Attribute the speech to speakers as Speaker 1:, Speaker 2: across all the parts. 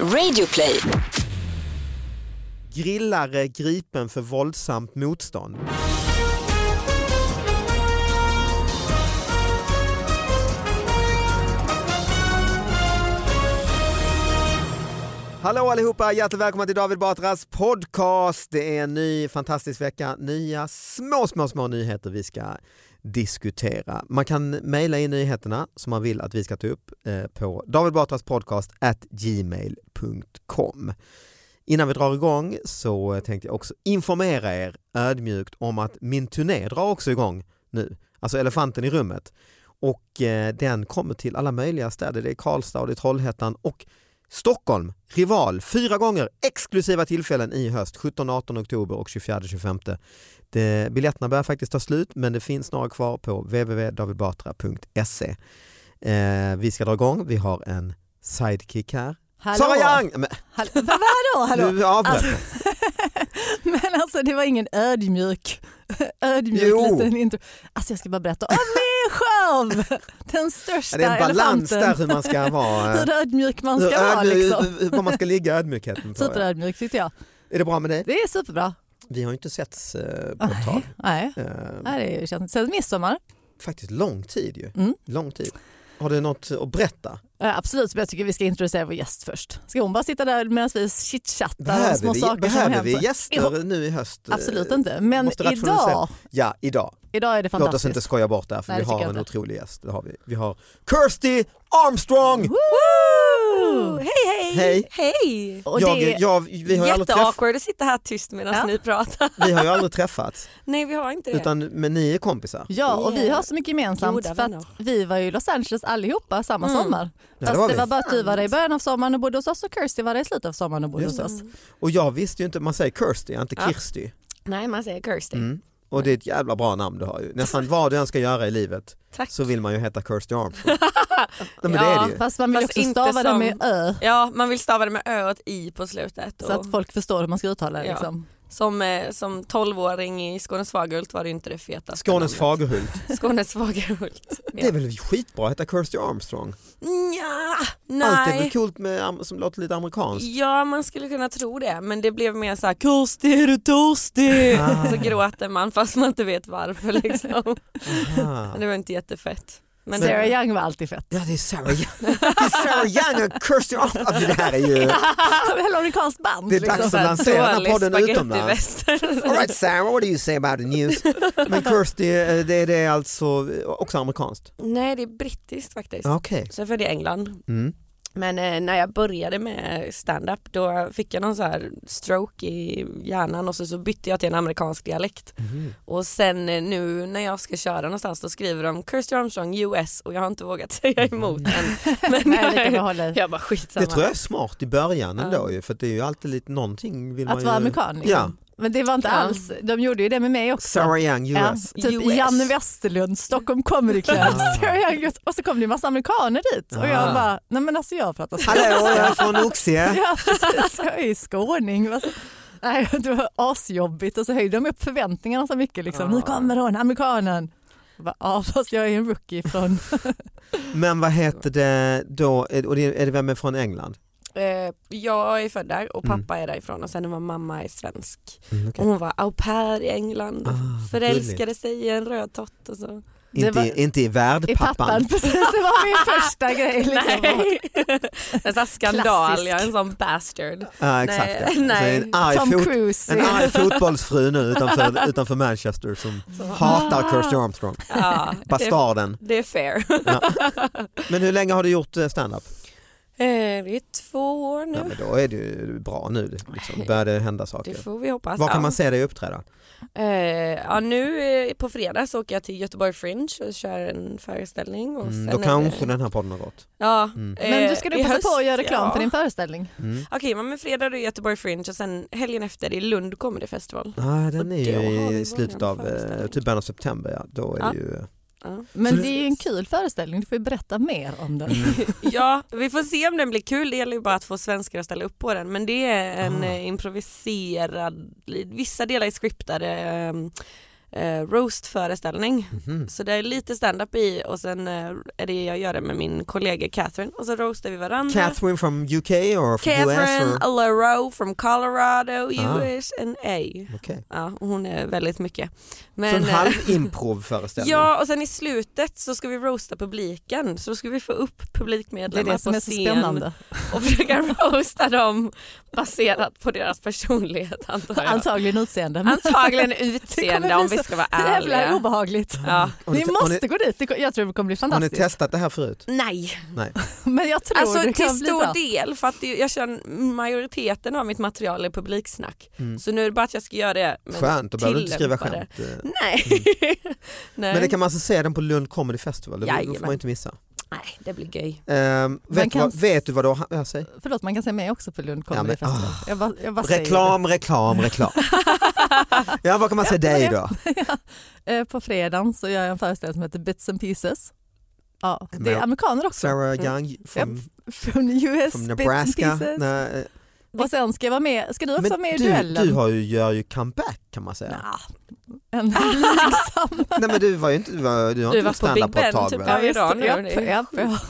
Speaker 1: Radioplay.
Speaker 2: Grillare gripen för våldsamt motstånd. Hallå allihopa, hjärtligt välkomna till David Batras podcast. Det är en ny fantastisk vecka, nya små, små, små nyheter vi ska diskutera. Man kan mejla in nyheterna som man vill att vi ska ta upp eh, på davidbatraspodcast@gmail.com. Innan vi drar igång så tänkte jag också informera er ödmjukt om att min turné drar också igång nu, alltså Elefanten i rummet. Och eh, den kommer till alla möjliga städer. Det är Karlstad, och det är Trollhättan och Stockholm, rival, fyra gånger exklusiva tillfällen i höst, 17-18 oktober och 24-25. Det- Biljetterna börjar faktiskt ta slut men det finns några kvar på www.davidbatra.se. Eh, vi ska dra igång, vi har en sidekick här.
Speaker 3: Hallå.
Speaker 2: Sara Young! Men,
Speaker 3: Hallå, vad- vadå, hallå?
Speaker 2: Nu avbröt
Speaker 3: Alltså- Men alltså det var ingen ödmjuk, ödmjuk
Speaker 2: Jo.
Speaker 3: liten intro. Alltså jag ska bara berätta om min show! Den
Speaker 2: Ja,
Speaker 3: största
Speaker 2: det är en balans
Speaker 3: elefanten.
Speaker 2: där hur man ska vara. eh,
Speaker 3: Hur ödmjuk man
Speaker 2: hur
Speaker 3: ska vara
Speaker 2: ödmjuk-
Speaker 3: liksom.
Speaker 2: hur- Var man ska ligga ödmjukheten på. ja.
Speaker 3: Superödmjuk tyckte jag.
Speaker 2: Är det bra med dig?
Speaker 3: Det är superbra.
Speaker 2: Vi har ju inte setts eh, på ett tag.
Speaker 3: Nej,
Speaker 2: Eh,
Speaker 3: nej, det är ju känt. Sen midsommar,
Speaker 2: faktiskt lång tid ju.
Speaker 3: Mm.
Speaker 2: Lång tid. Har du något att berätta?
Speaker 3: eh, absolut, men jag tycker vi ska introducera vår gäst först. Ska hon bara sitta där medan vi chitchattar om
Speaker 2: Behöver
Speaker 3: små
Speaker 2: vi,
Speaker 3: saker som
Speaker 2: behöver
Speaker 3: har
Speaker 2: vi
Speaker 3: hänt?
Speaker 2: gäster nu i höst? Eh,
Speaker 3: Absolut inte, men
Speaker 2: måste rationalisera.
Speaker 3: idag,
Speaker 2: Ja, idag.
Speaker 3: idag är det
Speaker 2: Låt oss
Speaker 3: fantastiskt.
Speaker 2: inte skoja bort det här för
Speaker 3: Nej,
Speaker 2: vi
Speaker 3: det
Speaker 2: har
Speaker 3: tycker
Speaker 2: en
Speaker 3: jag inte.
Speaker 2: otrolig gäst. Det har vi. vi har Kirsty Armstrong!
Speaker 3: Woo!
Speaker 4: Hej hej!
Speaker 2: Hej.
Speaker 4: Hej!
Speaker 3: Och
Speaker 2: jag,
Speaker 3: det-
Speaker 2: jag, vi, har ju aldrig träff,
Speaker 4: Jätteawkward att sitta här tyst medan
Speaker 3: Ja.
Speaker 4: ni pratar.
Speaker 2: vi har ju aldrig träffats,
Speaker 4: Nej vi har inte det.
Speaker 2: utan, men ni är kompisar.
Speaker 3: Ja, och vi
Speaker 4: Yeah.
Speaker 3: har så mycket gemensamt
Speaker 4: Goda
Speaker 3: för att
Speaker 4: vänner.
Speaker 3: vi var ju i Los Angeles allihopa samma
Speaker 4: Mm.
Speaker 3: sommar.
Speaker 2: det
Speaker 3: Fast
Speaker 2: var
Speaker 3: det
Speaker 2: vi.
Speaker 3: var bara att du var där i början av sommaren och bodde hos oss och Kirsty var där i slutet av sommaren och bodde
Speaker 2: Just
Speaker 3: hos oss.
Speaker 2: Och jag visste ju inte, man säger Kirsty, inte
Speaker 4: Ja.
Speaker 2: Kirsty.
Speaker 4: Nej man säger Kirsty.
Speaker 2: Mm. Och det är ett jävla bra namn du har ju. Nästan vad du än ska göra i livet
Speaker 4: Tack.
Speaker 2: så vill man ju heta Kirsty Armstrong. Nej men det
Speaker 4: Ja,
Speaker 2: är det ju.
Speaker 3: Fast man vill
Speaker 4: Fast
Speaker 3: också
Speaker 4: inte
Speaker 3: stava det
Speaker 4: som-
Speaker 3: med ö
Speaker 4: Ja man vill stava det med ö och ett i på slutet.
Speaker 3: så
Speaker 4: Och
Speaker 3: att folk förstår hur man ska uttala det.
Speaker 4: Ja.
Speaker 3: Liksom.
Speaker 4: som, eh, som 12-åring i Skånes Fagerhult var det inte det fetaste.
Speaker 2: Skånes
Speaker 4: namnet.
Speaker 2: Fagerhult.
Speaker 4: Skånes Fagerhult.
Speaker 2: Det är väl skitbra att heta Kirsty Armstrong?
Speaker 4: Nja,
Speaker 2: Allt är väl
Speaker 4: nej.
Speaker 2: coolt med, am- som låter lite amerikanskt?
Speaker 4: Ja man skulle kunna tro det men det blev mer såhär Kirsty är du törstig?
Speaker 2: Ah.
Speaker 4: Så gråter man fast man inte vet varför liksom.
Speaker 2: Aha.
Speaker 4: Men det var inte jättefett. Men
Speaker 3: Sarah Young var alltid fett.
Speaker 2: Ja det är Sarah Young, det är Sarah Young och Kirsty Armstrong. Alltså, Det här är ju,
Speaker 3: Som ett amerikanskt band. liksom.
Speaker 2: det är dags att
Speaker 4: Så här
Speaker 2: lansera den här
Speaker 4: dålig
Speaker 2: podden
Speaker 4: spaghetti
Speaker 2: utomlands.
Speaker 4: western.
Speaker 2: All right Sarah, what do you say about the news? Men Kirsty, eh, det är det är alltså eh, också amerikanskt?
Speaker 4: Nej det är brittiskt faktiskt.
Speaker 2: Ja, Okej.
Speaker 4: Så jag är född i England.
Speaker 2: Mm.
Speaker 4: Men eh, när jag började med stand-up då fick jag någon så här stroke i hjärnan och så, så bytte jag till en amerikansk dialekt.
Speaker 2: Mhm.
Speaker 4: Och sen eh, nu när jag ska köra någonstans då skriver de Kirsty Armstrong US och jag har inte vågat säga emot än. Men
Speaker 3: Nej, det kan jag
Speaker 4: jag,
Speaker 3: hålla i.
Speaker 4: jag bara skitsamma.
Speaker 2: Det tror jag är smart i början
Speaker 4: Ja.
Speaker 2: ändå ju, för att det är ju alltid lite någonting vill man
Speaker 3: Att
Speaker 2: ju...
Speaker 3: vara amerikan. Liksom.
Speaker 2: Ja.
Speaker 3: Men det var inte
Speaker 4: Ja.
Speaker 3: alls, de gjorde ju det med mig också.
Speaker 2: Sarah Young,
Speaker 3: Ja,
Speaker 2: US.
Speaker 3: typ
Speaker 4: US.
Speaker 3: Janne Westerlund, Stockholm Comedy Club.
Speaker 2: Ah.
Speaker 3: Sarah Young, och så kom det en massa amerikaner dit och
Speaker 2: Ah.
Speaker 3: jag bara, nej men alltså jag pratar svenska.
Speaker 2: Hallå, jag är från Oxie.
Speaker 3: Ja, precis. Jag är ju skåning. Vad så- Nej, det var asjobbigt och så höjde de upp förväntningarna så mycket. Liksom. Nu kommer hon, amerikanen. Jag bara, Ja, fast jag är en rookie från
Speaker 2: Men vad heter det då, är och det- är det vem är från England?
Speaker 4: Eh, jag är född där och
Speaker 2: Mm.
Speaker 4: pappa är därifrån och sen var mamma är svensk.
Speaker 2: Mm,
Speaker 4: Och
Speaker 2: okej.
Speaker 4: hon var au pair i England.
Speaker 2: Ah,
Speaker 4: Förälskade sig i en röd tott och så.
Speaker 3: Det
Speaker 2: Inte,
Speaker 3: var-
Speaker 2: i- inte i
Speaker 3: i pappan.
Speaker 2: värdpappan.
Speaker 3: Precis, det var min första grej. Liksom.
Speaker 4: Nej. En sån här skandal,
Speaker 3: Klassisk.
Speaker 4: jag är en sån bastard.
Speaker 2: Ja, exakt. ja.
Speaker 4: Nej,
Speaker 2: Så
Speaker 4: nej.
Speaker 2: En arg,
Speaker 3: Tom
Speaker 2: fot,
Speaker 3: Cruise.
Speaker 2: en arg fotbollsfru nu utanför, utanför Manchester som hatar Kirsty Armstrong.
Speaker 4: Ja, det,
Speaker 2: Bastarden.
Speaker 4: det är fair.
Speaker 2: Men hur länge har du gjort eh, standup?
Speaker 4: Eh, Det är två år
Speaker 2: Ja,
Speaker 4: nu.
Speaker 2: men då är det ju bra nu. Liksom. Börjar det hända
Speaker 4: Det
Speaker 2: saker?
Speaker 4: får vi hoppas.
Speaker 2: Var
Speaker 4: ja.
Speaker 2: kan man se dig uppträda?
Speaker 4: Eh, ja, nu eh, på fredag så åker jag till Göteborg Fringe och kör en föreställning. Och
Speaker 2: Mm,
Speaker 4: sen
Speaker 2: då
Speaker 4: är
Speaker 2: kanske
Speaker 4: det,
Speaker 2: den här podden har gått.
Speaker 4: ja,
Speaker 2: Mm.
Speaker 4: eh,
Speaker 3: Men du ska
Speaker 4: i
Speaker 3: du passa på att
Speaker 4: höst,
Speaker 3: göra reklam
Speaker 4: ja.
Speaker 3: för din föreställning.
Speaker 2: Mm.
Speaker 4: Okej, men fredag är det Göteborg Fringe och sen helgen efter i Lund Comedy Festival.
Speaker 2: Ah, den är
Speaker 4: Och då har
Speaker 2: ju
Speaker 4: vi
Speaker 2: i slutet av,
Speaker 4: våran
Speaker 2: eh,
Speaker 4: föreställning.
Speaker 2: typ början av september. Ja. Då är
Speaker 4: Ja.
Speaker 2: det ju...
Speaker 4: Ja.
Speaker 3: Men
Speaker 2: Så-
Speaker 3: det är ju en kul föreställning, du får ju berätta mer om den.
Speaker 2: mhm.
Speaker 4: ja, vi får se om den blir kul. Det gäller ju bara att få svenskar att ställa upp på den. Men det är en
Speaker 2: Ah.
Speaker 4: eh, improviserad, vissa delar är scriptade. ehm, eh, roast-föreställning.
Speaker 2: Mhm.
Speaker 4: Så det är lite stand-up i och sen eh, är det jag gör det med min kollega Catherine och så roastar vi varandra.
Speaker 2: Catherine from UK or from
Speaker 4: Catherine
Speaker 2: US? Or...
Speaker 4: Alaro from Colorado,
Speaker 2: Ah.
Speaker 4: USA.
Speaker 2: Okej.
Speaker 4: Ja, och hon är väldigt mycket.
Speaker 2: Så en
Speaker 4: eh,
Speaker 2: halv improvföreställning?
Speaker 4: Ja och sen i slutet så ska vi roasta publiken så då ska vi få upp
Speaker 3: Det är
Speaker 4: publikmedlemmar
Speaker 3: det som
Speaker 4: på
Speaker 3: är så
Speaker 4: scen
Speaker 3: spännande.
Speaker 4: och försöka roasta dem baserat på deras personlighet antar jag.
Speaker 3: Antagligen utseende. men
Speaker 4: Antagligen
Speaker 3: Det kommer
Speaker 4: utseende
Speaker 3: bli
Speaker 4: om vi
Speaker 3: så
Speaker 4: ska vara
Speaker 3: Jävla
Speaker 4: ärliga.
Speaker 3: obehagligt.
Speaker 4: Ja.
Speaker 2: Har ni,
Speaker 3: Ni
Speaker 2: te- har, ni,
Speaker 3: måste gå dit, Det ko- jag tror det kommer bli
Speaker 2: har ni
Speaker 3: fantastiskt.
Speaker 2: testat det här förut?
Speaker 4: Nej,
Speaker 3: Men jag tror
Speaker 4: alltså
Speaker 3: det
Speaker 4: till
Speaker 3: kan bli bra.
Speaker 4: stor del för att det- jag kör majoriteten av mitt material är publiksnack.
Speaker 2: Mm.
Speaker 4: Så nu är det bara att jag ska göra det. men-
Speaker 2: Skönt, då behöver du inte skriva
Speaker 4: tillämpade.
Speaker 2: skämt. Eh,
Speaker 4: Nej. Nej.
Speaker 2: Men det kan man alltså se den på Lund Comedy Festival, det det får man
Speaker 4: Jajamän.
Speaker 2: ju inte missa.
Speaker 4: Nej, det blir gøy.
Speaker 2: Ehm, vet,
Speaker 3: kan-
Speaker 2: du vad, vet du vad du har... Jag säger.
Speaker 3: Förlåt, man kan säga mig också på Lund
Speaker 2: Ja,
Speaker 3: Comedy
Speaker 2: men- Ah,
Speaker 3: Festival. Jag bara, jag bara säger det.
Speaker 2: Reklam, reklam, reklam. ja, vad kan man säga dig då?
Speaker 3: Eh, På fredagen så gör jag en föreställning som heter Bits and Pieces. Ja, det är
Speaker 2: Amer-
Speaker 3: amerikaner också.
Speaker 2: Sarah
Speaker 4: Mm.
Speaker 2: Young from,
Speaker 3: Från US
Speaker 2: from
Speaker 3: Bits and
Speaker 2: Nebraska.
Speaker 3: Pieces.
Speaker 2: Nej, eh,
Speaker 3: Och sen ska jag vara med, ska du också vara med i
Speaker 2: du,
Speaker 3: duellen?
Speaker 2: du har ju, gör ju comeback kan man säga.
Speaker 3: Nja, en blygsam.
Speaker 2: Nej men du var ju inte, du var, du har inte
Speaker 4: Du var
Speaker 2: varit
Speaker 4: på
Speaker 2: standup
Speaker 4: Big
Speaker 2: på ett
Speaker 4: Ben,
Speaker 2: tag.
Speaker 4: typ.
Speaker 2: väl?
Speaker 4: Ja,
Speaker 3: Ja, visst,
Speaker 4: Iran gör
Speaker 3: japp,
Speaker 4: det.
Speaker 3: japp,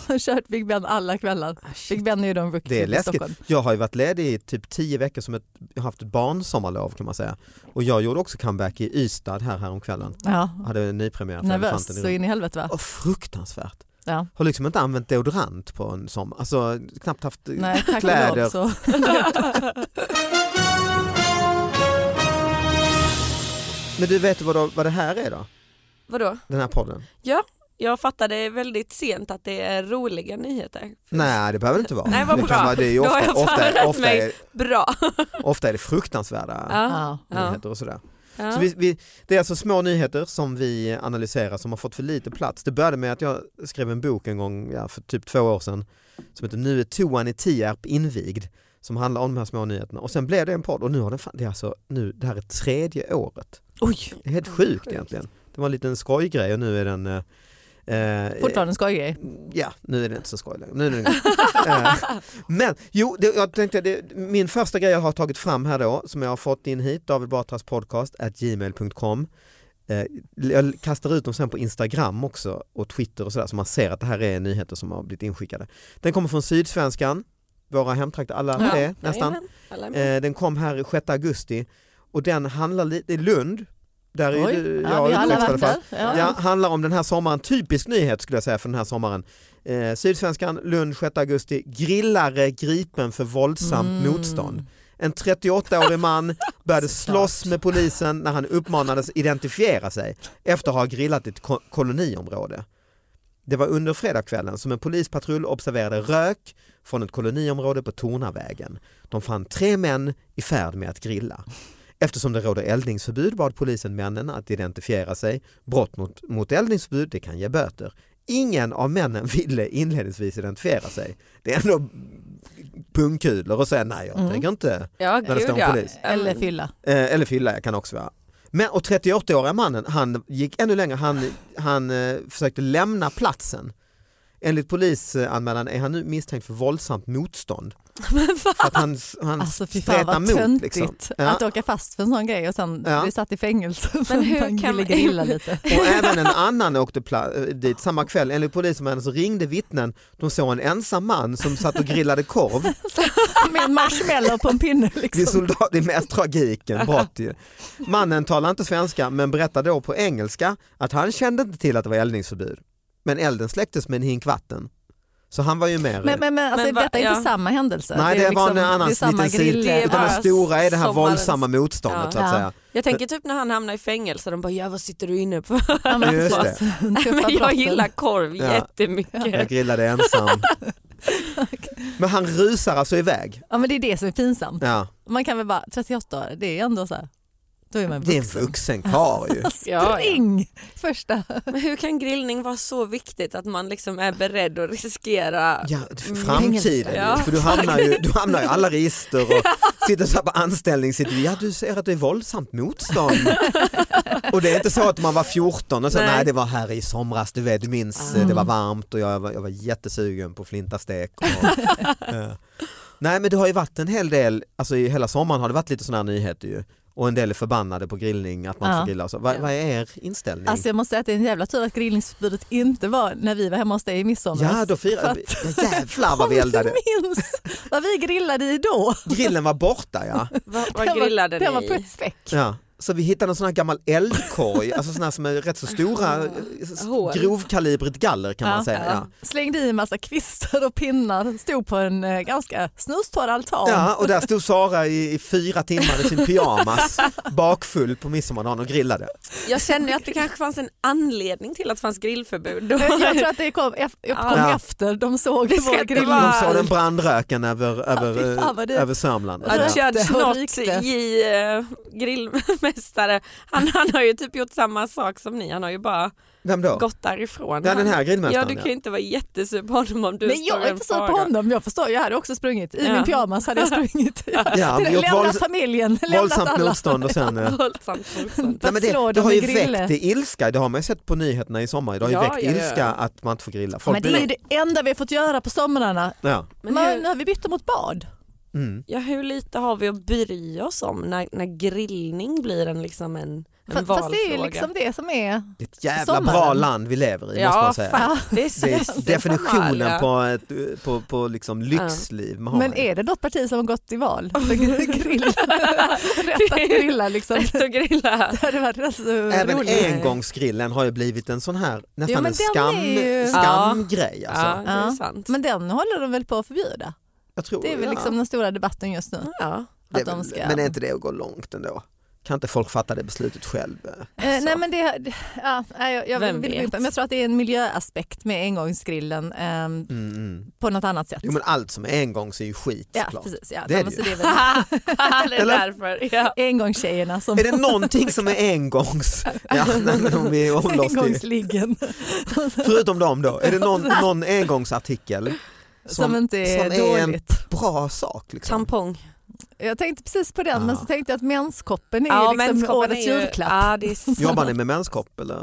Speaker 3: jag har kört Big Ben alla kvällar. Big Ben är ju de
Speaker 2: Det är
Speaker 3: rookie i
Speaker 2: läskigt.
Speaker 3: Stockholm.
Speaker 2: Ah, Jag har ju varit ledig i typ tio veckor som ett, jag har haft ett barnsommarlov kan man säga. Och jag gjorde också comeback i Ystad här häromkvällen.
Speaker 3: Ja,
Speaker 2: Hade en nypremiär för
Speaker 3: nervös så
Speaker 2: Elefanten i
Speaker 3: in i helvete va?
Speaker 2: oh, Fruktansvärt.
Speaker 3: Ja.
Speaker 2: Har liksom inte använt deodorant på en sommar. Alltså knappt haft
Speaker 3: Nej, tack och
Speaker 2: kläder.
Speaker 3: lov så.
Speaker 2: Men du vet vad, då, vad det här är då?
Speaker 4: Vadå?
Speaker 2: Den här podden?
Speaker 4: Jag fattade väldigt sent att det är roliga nyheter.
Speaker 2: Nej det behöver det inte vara.
Speaker 4: Nej, vad
Speaker 2: det
Speaker 4: bra.
Speaker 2: det är ju
Speaker 4: Då har
Speaker 2: ofta,
Speaker 4: jag
Speaker 2: ofta,
Speaker 4: förberett
Speaker 2: ofta,
Speaker 4: mig.
Speaker 2: är,
Speaker 4: Bra.
Speaker 2: ofta är det fruktansvärda
Speaker 3: Ja.
Speaker 4: Ja.
Speaker 2: nyheter och sådär.
Speaker 4: Ja.
Speaker 2: Så vi, vi, det är alltså små nyheter som vi analyserar som har fått för lite plats. Det började med att jag skrev en bok en gång ja, för typ två år sedan som heter Nu är toan i Tierp invigd som handlar om de här små nyheterna och sen blev det en podd och nu har den fan, det är alltså nu, det här är tredje året.
Speaker 3: Oj,
Speaker 2: Det är helt
Speaker 4: Oj,
Speaker 2: sjukt
Speaker 4: sjukt.
Speaker 2: egentligen. Det var en liten skojgrej och nu är den eh, eh,
Speaker 3: fortfarande en skojgrej.
Speaker 2: Ja, nu är det inte så skoj längre. Nu är det Eh, Men jo, det, jag tänkte, det, min första grej jag har tagit fram här då, som jag har fått in hit, David Batras podcast at gmail.com. Eh, Jag kastar ut dem sen på Instagram också och Twitter och sådär så man ser att det här är nyheter som har blivit inskickade. Den kommer från Sydsvenskan, våra hemtrakter, alla
Speaker 3: Ja,
Speaker 2: tre nästan.
Speaker 4: Jajamän. Alla är med.
Speaker 2: Eh, Den kom här 6 augusti och den handlar lite, i Lund, där är
Speaker 3: Oj,
Speaker 2: ju du,
Speaker 3: ja,
Speaker 2: jag
Speaker 3: vi har
Speaker 2: uppväxt i
Speaker 3: alla
Speaker 2: alla
Speaker 3: varit
Speaker 2: fall.
Speaker 3: där. Ja.
Speaker 2: Ja, handlar om den här sommaren, typisk nyhet skulle jag säga för den här sommaren. Eh, Sydsvenskan, Lund 6 augusti, grillare gripen för våldsamt
Speaker 3: Mm.
Speaker 2: motstånd. En 38-årig man började
Speaker 3: Såklart.
Speaker 2: slåss med polisen när han uppmanades identifiera sig efter att ha grillat i ett ko- koloniområde. Det var under fredagskvällen som en polispatrull observerade rök från ett koloniområde på Tornavägen. De fann tre män i färd med att grilla. Eftersom det råder eldningsförbud bad polisen männen att identifiera sig. Brott mot, mot eldningsförbud det kan ge böter. Ingen av männen ville inledningsvis identifiera sig. Det är ändå pungkulor och säga nej jag
Speaker 3: Mm.
Speaker 2: tänker inte.
Speaker 4: Ja,
Speaker 2: det står en polis.
Speaker 3: Eller fylla.
Speaker 2: Eh, eller fylla jag kan också vara. Men, och 38-åriga mannen, han gick ännu längre, han, han eh, försökte lämna platsen. Enligt polisanmälan är han nu misstänkt för våldsamt motstånd. För att han, han
Speaker 3: Alltså fy fan
Speaker 2: stretar
Speaker 3: vad
Speaker 2: mot,
Speaker 3: töntigt
Speaker 2: liksom. Ja.
Speaker 3: att åka fast för en sån grej och sen
Speaker 2: Ja.
Speaker 3: bli satt i fängelse för
Speaker 4: Men
Speaker 3: att
Speaker 4: hur
Speaker 3: man ville
Speaker 4: kan man-
Speaker 3: grilla lite.
Speaker 2: Och även en annan åkte pla- eh, dit samma kväll. Enligt polisanmälan så ringde vittnen, de såg en ensam man som satt och grillade korv.
Speaker 3: Med en marshmallow på en pinne.
Speaker 2: Det är,
Speaker 3: Liksom.
Speaker 2: soldat, det är mest tragiken, brott ju. Mannen talar inte svenska men berättar då på engelska att han kände inte till att det var eldningsförbud. Men elden släcktes med en hink vatten. Så han var ju med.
Speaker 3: Men, men, men, alltså,
Speaker 4: Men va-
Speaker 3: detta är inte
Speaker 4: ja.
Speaker 3: samma händelse.
Speaker 2: Nej det,
Speaker 3: är
Speaker 2: var
Speaker 3: liksom-
Speaker 2: en annan
Speaker 3: det är samma
Speaker 2: liten
Speaker 3: grill.
Speaker 2: sida. Utan det
Speaker 4: bara
Speaker 2: stora är det här
Speaker 4: sommarens-
Speaker 2: våldsamma motståndet
Speaker 4: Ja.
Speaker 2: så att
Speaker 3: Ja.
Speaker 2: säga.
Speaker 4: Jag tänker typ när han hamnar i fängelse, de bara ja vad sitter du inne på?
Speaker 3: Ja, men
Speaker 2: Just
Speaker 3: precis. Tuffa
Speaker 4: Men jag
Speaker 3: brotten.
Speaker 4: gillar korv
Speaker 2: Ja. Jag
Speaker 4: jättemycket.
Speaker 2: grillade ensam. Men han rusar alltså iväg.
Speaker 3: Ja, men det är det som är pinsamt.
Speaker 2: Ja.
Speaker 3: Man kan väl bara, 38 år, det är ändå så här. Då är man
Speaker 2: Det är
Speaker 3: vuxen.
Speaker 2: en vuxen karl ju.
Speaker 4: Ja, ja.
Speaker 3: Alltså, Spring! Första.
Speaker 4: Men hur kan grillning vara så viktigt att man liksom är beredd att riskera?
Speaker 2: Ja,
Speaker 3: Mm.
Speaker 2: framtiden
Speaker 4: Ja.
Speaker 2: ju, för du hamnar ju du hamnar i alla register och sitter så här på anställning, sitter, ja du ser att det är våldsamt motstånd. och det är inte så att man var 14 och så, nej,
Speaker 4: Nej.
Speaker 2: det var här i somras, du vet, du minns eh, det
Speaker 3: Ah.
Speaker 2: var varmt och jag var, jag var jättesugen på flintastek. Och, eh. Nej men det har ju varit en hel del, alltså i hela sommaren har det varit lite sådana här nyheter ju. och en del är förbannade på grillning, att man inte
Speaker 3: Ja.
Speaker 2: får grilla och så. Vad,
Speaker 4: Ja.
Speaker 2: vad är er inställning?
Speaker 3: Alltså jag måste säga att det är en jävla tur att grillningsförbudet inte var när vi var hemma hos dig i midsommar.
Speaker 2: ja, då
Speaker 3: För
Speaker 2: firar
Speaker 3: att-
Speaker 2: vi. Ja, jävlar vad vi eldade.
Speaker 3: Om du minns vad vi grillade i då.
Speaker 2: Grillen var borta ja.
Speaker 4: Vad,
Speaker 3: Den
Speaker 4: vad
Speaker 3: var-
Speaker 4: grillade
Speaker 3: Den var
Speaker 4: ni?
Speaker 3: putsväck.
Speaker 2: ja. Så vi hittade en sån här gammal eldkorg, alltså sån här som är rätt så stora,
Speaker 4: Hål.
Speaker 2: grovkalibrigt galler kan man säga. Ja.
Speaker 3: Slängde i en massa kvistar och pinnar, stod på en eh, ganska snustorr altan.
Speaker 2: Ja, och där stod Sara i, i fyra timmar i sin pyjamas bakfull på midsommardagen och grillade.
Speaker 4: Jag känner ju att det kanske fanns en anledning till att det fanns grillförbud. Då.
Speaker 3: Jag tror att det kom, eff- kom
Speaker 2: Ja.
Speaker 3: efter, de såg det
Speaker 4: Det ska
Speaker 3: vår
Speaker 4: inte
Speaker 3: grill.
Speaker 4: vara-
Speaker 2: De såg den brandröken över, över, eh,
Speaker 3: fy fan vad det-
Speaker 2: över Sörmland.
Speaker 3: Ja, det-
Speaker 2: Ja.
Speaker 4: Richard
Speaker 3: Rökte och
Speaker 4: Schnott
Speaker 3: rykte.
Speaker 4: i eh, grillmästare, han, han har ju typ gjort samma sak som ni, han har ju bara
Speaker 2: Vem då?
Speaker 4: gått därifrån.
Speaker 2: Ja, den här
Speaker 4: han, ja
Speaker 2: grillmästaren.
Speaker 4: du kan ju inte vara jättesur på honom om du
Speaker 3: Men jag
Speaker 4: står
Speaker 3: är inte så
Speaker 4: en
Speaker 3: på
Speaker 4: fråga.
Speaker 3: honom, jag förstår, jag hade också sprungit. I
Speaker 4: Ja.
Speaker 3: min pyjamas hade jag sprungit. Jag
Speaker 2: Ja,
Speaker 3: hade
Speaker 2: vi gjort
Speaker 3: lämnat
Speaker 2: vålds-
Speaker 3: familjen, lämnat
Speaker 2: Våldsamt
Speaker 3: alla.
Speaker 2: motstånd och sen... eh,
Speaker 4: Våldsamt motstånd.
Speaker 3: För
Speaker 2: Nej,
Speaker 3: att
Speaker 2: men
Speaker 3: slå
Speaker 2: det, det
Speaker 3: dem
Speaker 2: har
Speaker 3: med
Speaker 2: ju
Speaker 3: grille.
Speaker 2: väckt i ilska, det har man ju sett på nyheterna i sommar, det har ju
Speaker 4: Ja,
Speaker 2: väckt
Speaker 4: ja, ja.
Speaker 2: ilska att man inte får grilla. Folk
Speaker 3: Men det är ju
Speaker 2: blir-
Speaker 3: det enda vi har fått göra på somrarna.
Speaker 2: ja.
Speaker 4: Men
Speaker 3: Men
Speaker 4: hur,
Speaker 3: nu har vi bytt mot bad.
Speaker 2: mm.
Speaker 4: ja, hur lite har vi att bry oss om när, när grillning blir en, liksom en, en
Speaker 3: Fast, fast
Speaker 4: valfråga?
Speaker 3: det är ju liksom det som är...
Speaker 2: Det är ett jävla
Speaker 3: Sommaren.
Speaker 2: bra land vi lever i måste
Speaker 4: ja,
Speaker 2: man säga.
Speaker 4: faktiskt.
Speaker 2: Det
Speaker 4: Jösses,
Speaker 2: är
Speaker 4: Amalia.
Speaker 2: definitionen på, ett, på, på liksom lyxliv. Man har
Speaker 3: Men är det något parti som har gått i val för grilla? Rätt att grilla liksom.
Speaker 4: Rätt att grilla.
Speaker 3: Det hade varit rätt så
Speaker 2: Även
Speaker 3: roligt.
Speaker 2: engångsgrillen har ju blivit en sån här
Speaker 3: Jo,
Speaker 2: nästan
Speaker 3: men
Speaker 2: en
Speaker 3: den
Speaker 2: skam,
Speaker 3: är ju-
Speaker 2: skamgrej.
Speaker 4: Ja,
Speaker 2: Alltså.
Speaker 4: det är
Speaker 3: Ja.
Speaker 4: sant.
Speaker 3: Men den håller de väl på att förbjuda?
Speaker 2: Jag tror,
Speaker 3: Det är väl
Speaker 2: ja.
Speaker 3: liksom den stora debatten just nu.
Speaker 4: Ja.
Speaker 2: Det är
Speaker 3: att de
Speaker 2: väl-
Speaker 3: ska-
Speaker 2: Men är inte det att gå långt ändå? Kan inte folk fatta det beslutet själv?
Speaker 3: Eh, nej men det, det- ja, nej, jag, jag,
Speaker 4: Vem
Speaker 3: vill,
Speaker 4: vet?
Speaker 3: men jag tror att det är en miljöaspekt med engångsgrillen eh,
Speaker 2: Mm, Mm.
Speaker 3: på något annat sätt.
Speaker 2: Jo men allt som är engångs är ju skit
Speaker 3: ja,
Speaker 2: såklart.
Speaker 3: precis, ja.
Speaker 2: Det är det
Speaker 3: Ja, men
Speaker 2: ju.
Speaker 3: så det är väl
Speaker 4: det är
Speaker 2: Eller?
Speaker 4: därför. Ja.
Speaker 3: engångstjejerna som
Speaker 2: Är det någonting som är engångs? Ja, nej, men om vi håller oss till,
Speaker 3: engångsliggen
Speaker 2: förutom dem då, är det någon, någon engångsartikel?
Speaker 3: som,
Speaker 2: Som-
Speaker 3: inte är
Speaker 2: som är en-
Speaker 3: dåligt.
Speaker 2: Bra sak liksom.
Speaker 4: Tampong.
Speaker 3: Jag tänkte precis på den
Speaker 2: Ja.
Speaker 3: men så tänkte jag att menskoppen är
Speaker 4: Ja,
Speaker 3: ju liksom
Speaker 4: menskoppen
Speaker 3: årets
Speaker 4: är ju-
Speaker 3: julklapp.
Speaker 4: Ja, det är sant.
Speaker 2: Jobbar ni med menskopp eller?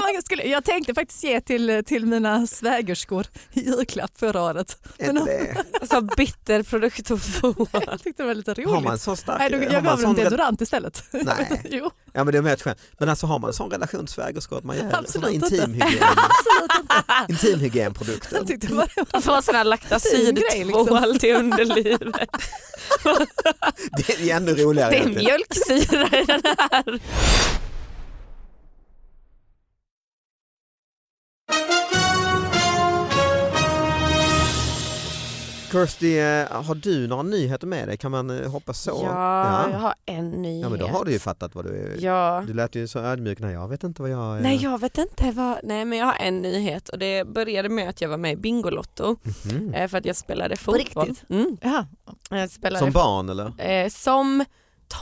Speaker 3: Man skulle- jag tänkte faktiskt ge till, till mina svägerskor i julklapp förra året.
Speaker 2: Är inte det?
Speaker 4: Så bitter produkt att få.
Speaker 3: Jag tyckte det var lite roligt.
Speaker 2: Har man så stark...
Speaker 3: Nej, då,
Speaker 2: har
Speaker 3: jag
Speaker 2: man
Speaker 3: gav dem
Speaker 2: sån re-
Speaker 3: deodorant istället.
Speaker 2: Nej.
Speaker 3: jo,
Speaker 2: Ja men det är mer ett skämt. Men alltså har man en sån relation till svägerskor att man gör
Speaker 3: Absolut
Speaker 2: sådana
Speaker 3: inte.
Speaker 2: intimhygien,
Speaker 3: absolut inte.
Speaker 2: intimhygienprodukter?
Speaker 3: Jag tyckte det var
Speaker 4: Få sån här
Speaker 3: Fin
Speaker 4: laktacid
Speaker 3: grej, liksom.
Speaker 4: till underlivet.
Speaker 2: Det är ju ännu roligare.
Speaker 4: Det är
Speaker 2: egentligen.
Speaker 4: mjölksyra i den här.
Speaker 2: Kirsty, eh, har du några nyheter med dig? Kan man eh, hoppa så?
Speaker 4: Ja, jag
Speaker 2: ja.
Speaker 4: har en nyhet.
Speaker 2: ja men då har du ju fattat vad du är.
Speaker 4: Ja.
Speaker 2: Du lät ju så ödmjuk, nej jag vet inte vad jag är.
Speaker 4: Nej jag vet inte vad, nej men jag har en nyhet och det började med att jag var med i Bingolotto
Speaker 2: Mhm.
Speaker 4: eh, för att jag spelade fotboll.
Speaker 3: riktigt?
Speaker 4: Mm,
Speaker 3: Jaha.
Speaker 4: jag spelade
Speaker 2: Som barn eller?
Speaker 4: eh, som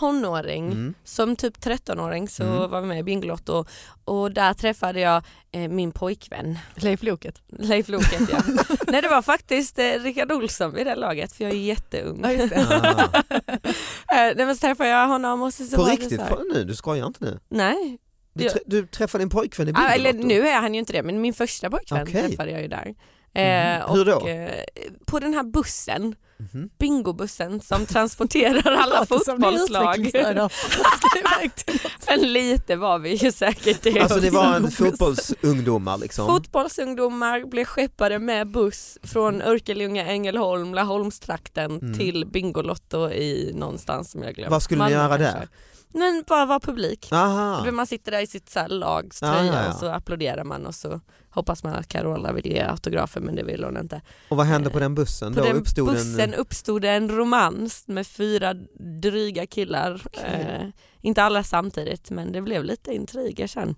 Speaker 4: tonåring
Speaker 2: Mm.
Speaker 4: Som typ 13-åring så
Speaker 2: Mm.
Speaker 4: var vi med i Bingolotto och där träffade jag eh, min pojkvän
Speaker 3: Leif Loket.
Speaker 4: Leif Loket. Ja. Nej det var faktiskt eh, Rickard Olsson vid det laget för jag är jätteung.
Speaker 3: Ja,
Speaker 4: eh,
Speaker 3: just det.
Speaker 2: Ah.
Speaker 4: nej men så träffade jag honom och så, så
Speaker 2: På
Speaker 4: var
Speaker 2: riktigt?
Speaker 4: det så här,
Speaker 2: På- Nu, du skojar inte nu?
Speaker 4: Nej.
Speaker 2: Du,
Speaker 4: Ja.
Speaker 2: trä- du träffade din pojkvän i
Speaker 4: Ah,
Speaker 2: Bingolotto?
Speaker 4: eller nu är han ju inte det men min första pojkvän
Speaker 2: Okej.
Speaker 4: träffade jag ju där.
Speaker 2: Mm.
Speaker 4: Eh,
Speaker 2: Hur
Speaker 4: och,
Speaker 2: då?
Speaker 4: Eh, på den här bussen,
Speaker 2: Mhm.
Speaker 4: bingobussen som transporterar alla
Speaker 3: Låter som det är
Speaker 4: fotbollslag.
Speaker 3: utvecklingsstörda. Jag ska iväg till-
Speaker 4: Men lite var vi ju säkert det
Speaker 2: Alltså det var en
Speaker 4: också.
Speaker 2: fotbollsungdomar liksom?
Speaker 4: Fotbollsungdomar blev skeppade med buss från Örkelljunga, Ängelholm, Laholmstrakten
Speaker 2: Mm.
Speaker 4: till Bingolotto i någonstans som jag glömt.
Speaker 2: Vad skulle ni
Speaker 4: Malmö
Speaker 2: göra
Speaker 4: kanske.
Speaker 2: där?
Speaker 4: Men bara vara publik.
Speaker 2: Aha.
Speaker 4: Då Man sitter där i sitt så här lags
Speaker 2: Ja,
Speaker 4: tröja
Speaker 2: ja, ja.
Speaker 4: och så applåderar man och så hoppas man att Carola vill ge autografer men det vill hon inte.
Speaker 2: Och vad hände på den bussen?
Speaker 4: På
Speaker 2: Då
Speaker 4: den
Speaker 2: uppstod
Speaker 4: bussen
Speaker 2: en...
Speaker 4: uppstod en romans med fyra dryga killar. Eh, inte alla samtidigt men det blev lite intriger sen.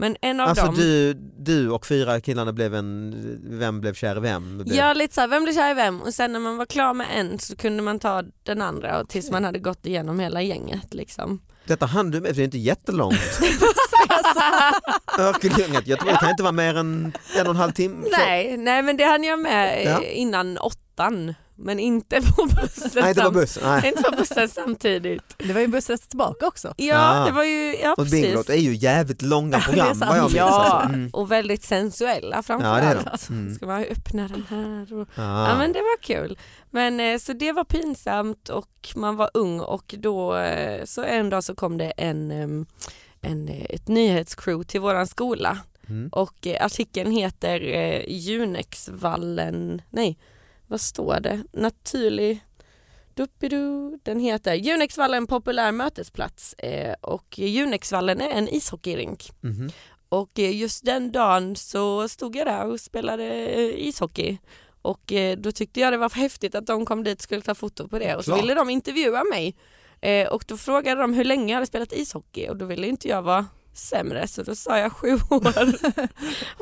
Speaker 4: Men en av
Speaker 2: Alltså
Speaker 4: dem
Speaker 2: du, du och fyra killarna blev en, vem blev kär i vem? Blev...
Speaker 4: Ja lite såhär, vem blir kär i vem? Och sen när man var klar med en så kunde man ta den andra och tills man hade gått igenom hela gänget liksom.
Speaker 2: Detta hann du med, för det är inte jättelångt.
Speaker 4: Alltså,
Speaker 2: Örkelljunga till Göteborg kan inte vara mer än en och en halv timme.
Speaker 4: nej, nej men det hann jag med eh,
Speaker 2: Ja.
Speaker 4: innan åttan men inte på bussen.
Speaker 2: Nej, det var
Speaker 4: sam-
Speaker 2: bussen. Nej.
Speaker 4: inte på bussen samtidigt.
Speaker 3: Det var ju en bussresa tillbaka också.
Speaker 4: Ja,
Speaker 2: Ah.
Speaker 4: det var ju, ja
Speaker 2: Och Bingolotto
Speaker 4: precis.
Speaker 2: det är ju jävligt långa
Speaker 3: det är
Speaker 2: program
Speaker 3: sant.
Speaker 2: vad jag minns.
Speaker 4: Ja,
Speaker 2: alltså. Mm.
Speaker 4: och väldigt sensuella
Speaker 2: Ja, det är
Speaker 4: framförallt.
Speaker 2: de. Mm.
Speaker 4: Ska man öppna den här? Och... Ja.
Speaker 2: Ja.
Speaker 4: men det var kul. Men eh, så det var pinsamt och man var ung och då eh, så en dag så kom det en, em, en eh, ett nyhetscrew till våran skola
Speaker 2: Mm.
Speaker 4: och eh, artikeln heter eh, Junexvallen, nej vad står det? Naturlig Duppidu. Den heter Junexvallen populär mötesplats eh, och Junexvallen är en ishockeyrink.
Speaker 2: Mhm.
Speaker 4: Och eh, just den dagen så stod jag där och spelade eh, ishockey. Och eh, då tyckte jag det var häftigt att de kom dit och skulle ta foto på det. Och så
Speaker 2: Klart.
Speaker 4: ville de intervjua mig. Eh, Och då frågade de hur länge jag hade spelat ishockey och då ville inte jag vara sämre så då sa jag sju år.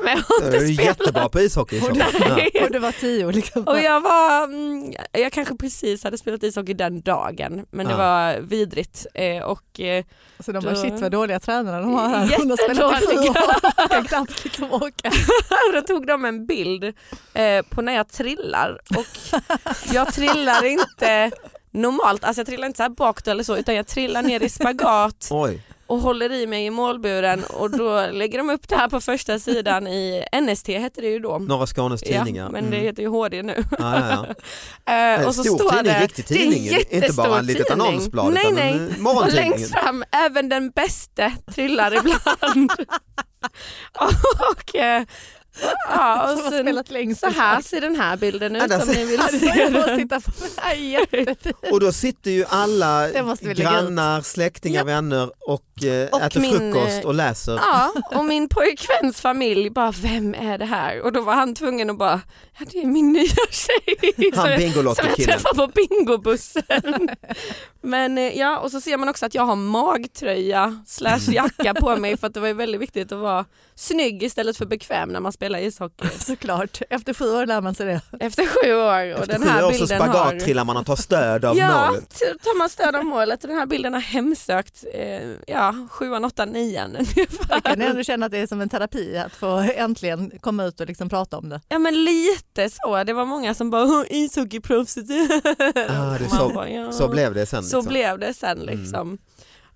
Speaker 4: Men jag har
Speaker 2: Du är
Speaker 4: inte
Speaker 2: ju jättebra
Speaker 4: spelat.
Speaker 2: på ishockey. så. Ja.
Speaker 4: Nej.
Speaker 3: Och det var tio liksom.
Speaker 4: Och jag var, mm, jag kanske precis hade spelat ishockey den dagen men det
Speaker 2: Ja.
Speaker 4: var vidrigt Eh, och eh,
Speaker 3: Så Alltså de bara
Speaker 4: då-
Speaker 3: shit vad dåliga tränare de har här. Hon har spelat i sju
Speaker 4: Jättedåliga.
Speaker 3: år. Kan knappt liksom åka.
Speaker 4: då tog de en bild eh, på när jag trillar och jag trillar inte normalt, alltså jag trillar inte så här bakåt eller så utan jag trillar ner i spagat
Speaker 2: Oj,
Speaker 4: och håller i mig i målburen och då lägger de upp det här på första sidan i NST hette det ju då.
Speaker 2: Norra Skånes
Speaker 4: Ja,
Speaker 2: tidningar.
Speaker 4: men det
Speaker 2: Mm.
Speaker 4: heter ju HD nu.
Speaker 2: ja, ja, ja.
Speaker 4: Eh,
Speaker 2: En
Speaker 4: och så
Speaker 2: stor
Speaker 4: står
Speaker 2: tidning, en
Speaker 4: det,
Speaker 2: riktig
Speaker 4: det är en
Speaker 2: tidning. inte bara
Speaker 4: jättestor
Speaker 2: en litet
Speaker 4: tidning.
Speaker 2: annonsblad
Speaker 4: Nej,
Speaker 2: utan
Speaker 4: nej.
Speaker 2: en eh,
Speaker 4: och
Speaker 2: morgontidning.
Speaker 4: längst fram, även den bäste trillar ibland. och, eh, ja, och
Speaker 3: Som har
Speaker 4: sen,
Speaker 3: spelat längst.
Speaker 4: Så här ser den här bilden
Speaker 2: Ja,
Speaker 4: ut
Speaker 2: den
Speaker 4: om ni vill
Speaker 3: Alltså,
Speaker 4: se
Speaker 3: jag måste
Speaker 4: den.
Speaker 3: titta på den här igen.
Speaker 2: Och då sitter ju alla
Speaker 3: Det måste vi lägga
Speaker 2: grannar, släktingar,
Speaker 4: Ja.
Speaker 2: vänner och, eh,
Speaker 4: Och
Speaker 2: äter
Speaker 4: min,
Speaker 2: frukost
Speaker 4: eh,
Speaker 2: och läser.
Speaker 4: Ja, och min pojkväns familj bara, vem är det här? Och då var han tvungen att bara, ja det är min nya tjej. som
Speaker 2: Han
Speaker 4: jag- som jag
Speaker 2: Bingolotto-killen.
Speaker 4: träffade på bingobussen. Men eh, ja, och så ser man också att jag har magtröja slash jacka på mig för att det var ju väldigt viktigt att vara snygg istället för bekväm när man spelar ishockey.
Speaker 3: Såklart, efter sju år lär man sig det.
Speaker 4: Efter sju år och
Speaker 2: Efter
Speaker 4: den här
Speaker 2: sju år så
Speaker 4: bilden
Speaker 2: spagat
Speaker 4: har...
Speaker 2: trillar man och tar stöd av
Speaker 4: ja,
Speaker 2: målet.
Speaker 4: t- tar man stöd av målet och den här bilden har hemsökt eh, ja, sjuan, åttan, nian
Speaker 3: Jag
Speaker 4: ungefär.
Speaker 3: kan ändå känna att det är som en terapi att få äntligen komma ut och liksom prata om det.
Speaker 4: Ja men lite så, det var många som bara "Åh, ishockeyproffset.
Speaker 2: Ah, det är
Speaker 4: Man
Speaker 2: så-
Speaker 4: bara, ja.
Speaker 2: Så blev det sen.
Speaker 4: Så
Speaker 2: liksom.
Speaker 4: blev det sen liksom.